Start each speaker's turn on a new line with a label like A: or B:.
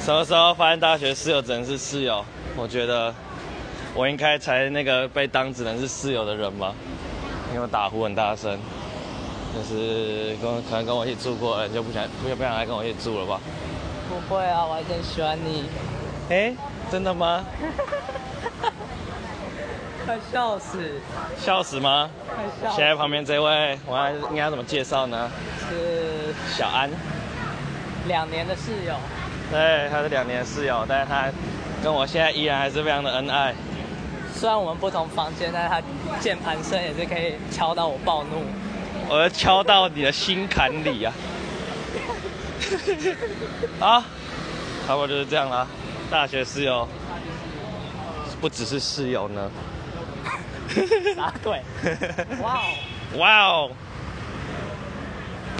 A: 什么时候发现大学室友只能是室友？我觉得我应该才那个被当只能是室友的人吧，因为我打呼很大声，就是跟可能跟我一起住过的人就不想不想不想来跟我一起住了吧？
B: 不会啊，我还真喜欢你，
A: 哎，真的吗？
B: 快笑死，
A: 笑死吗？
B: 快笑
A: 现在旁边这位，我还应该怎么介绍呢？
B: 是
A: 小安，
B: 两年的室友，
A: 对，他是两年室友，但是他跟我现在依然还是非常的恩爱。
B: 虽然我们不同房间，但是他键盘声也是可以敲到我暴怒。
A: 我要敲到你的心坎里啊！啊，差不多就是这样啦。大学室友，不只是室友呢。
B: 答对，哇哦！
A: 哇哦，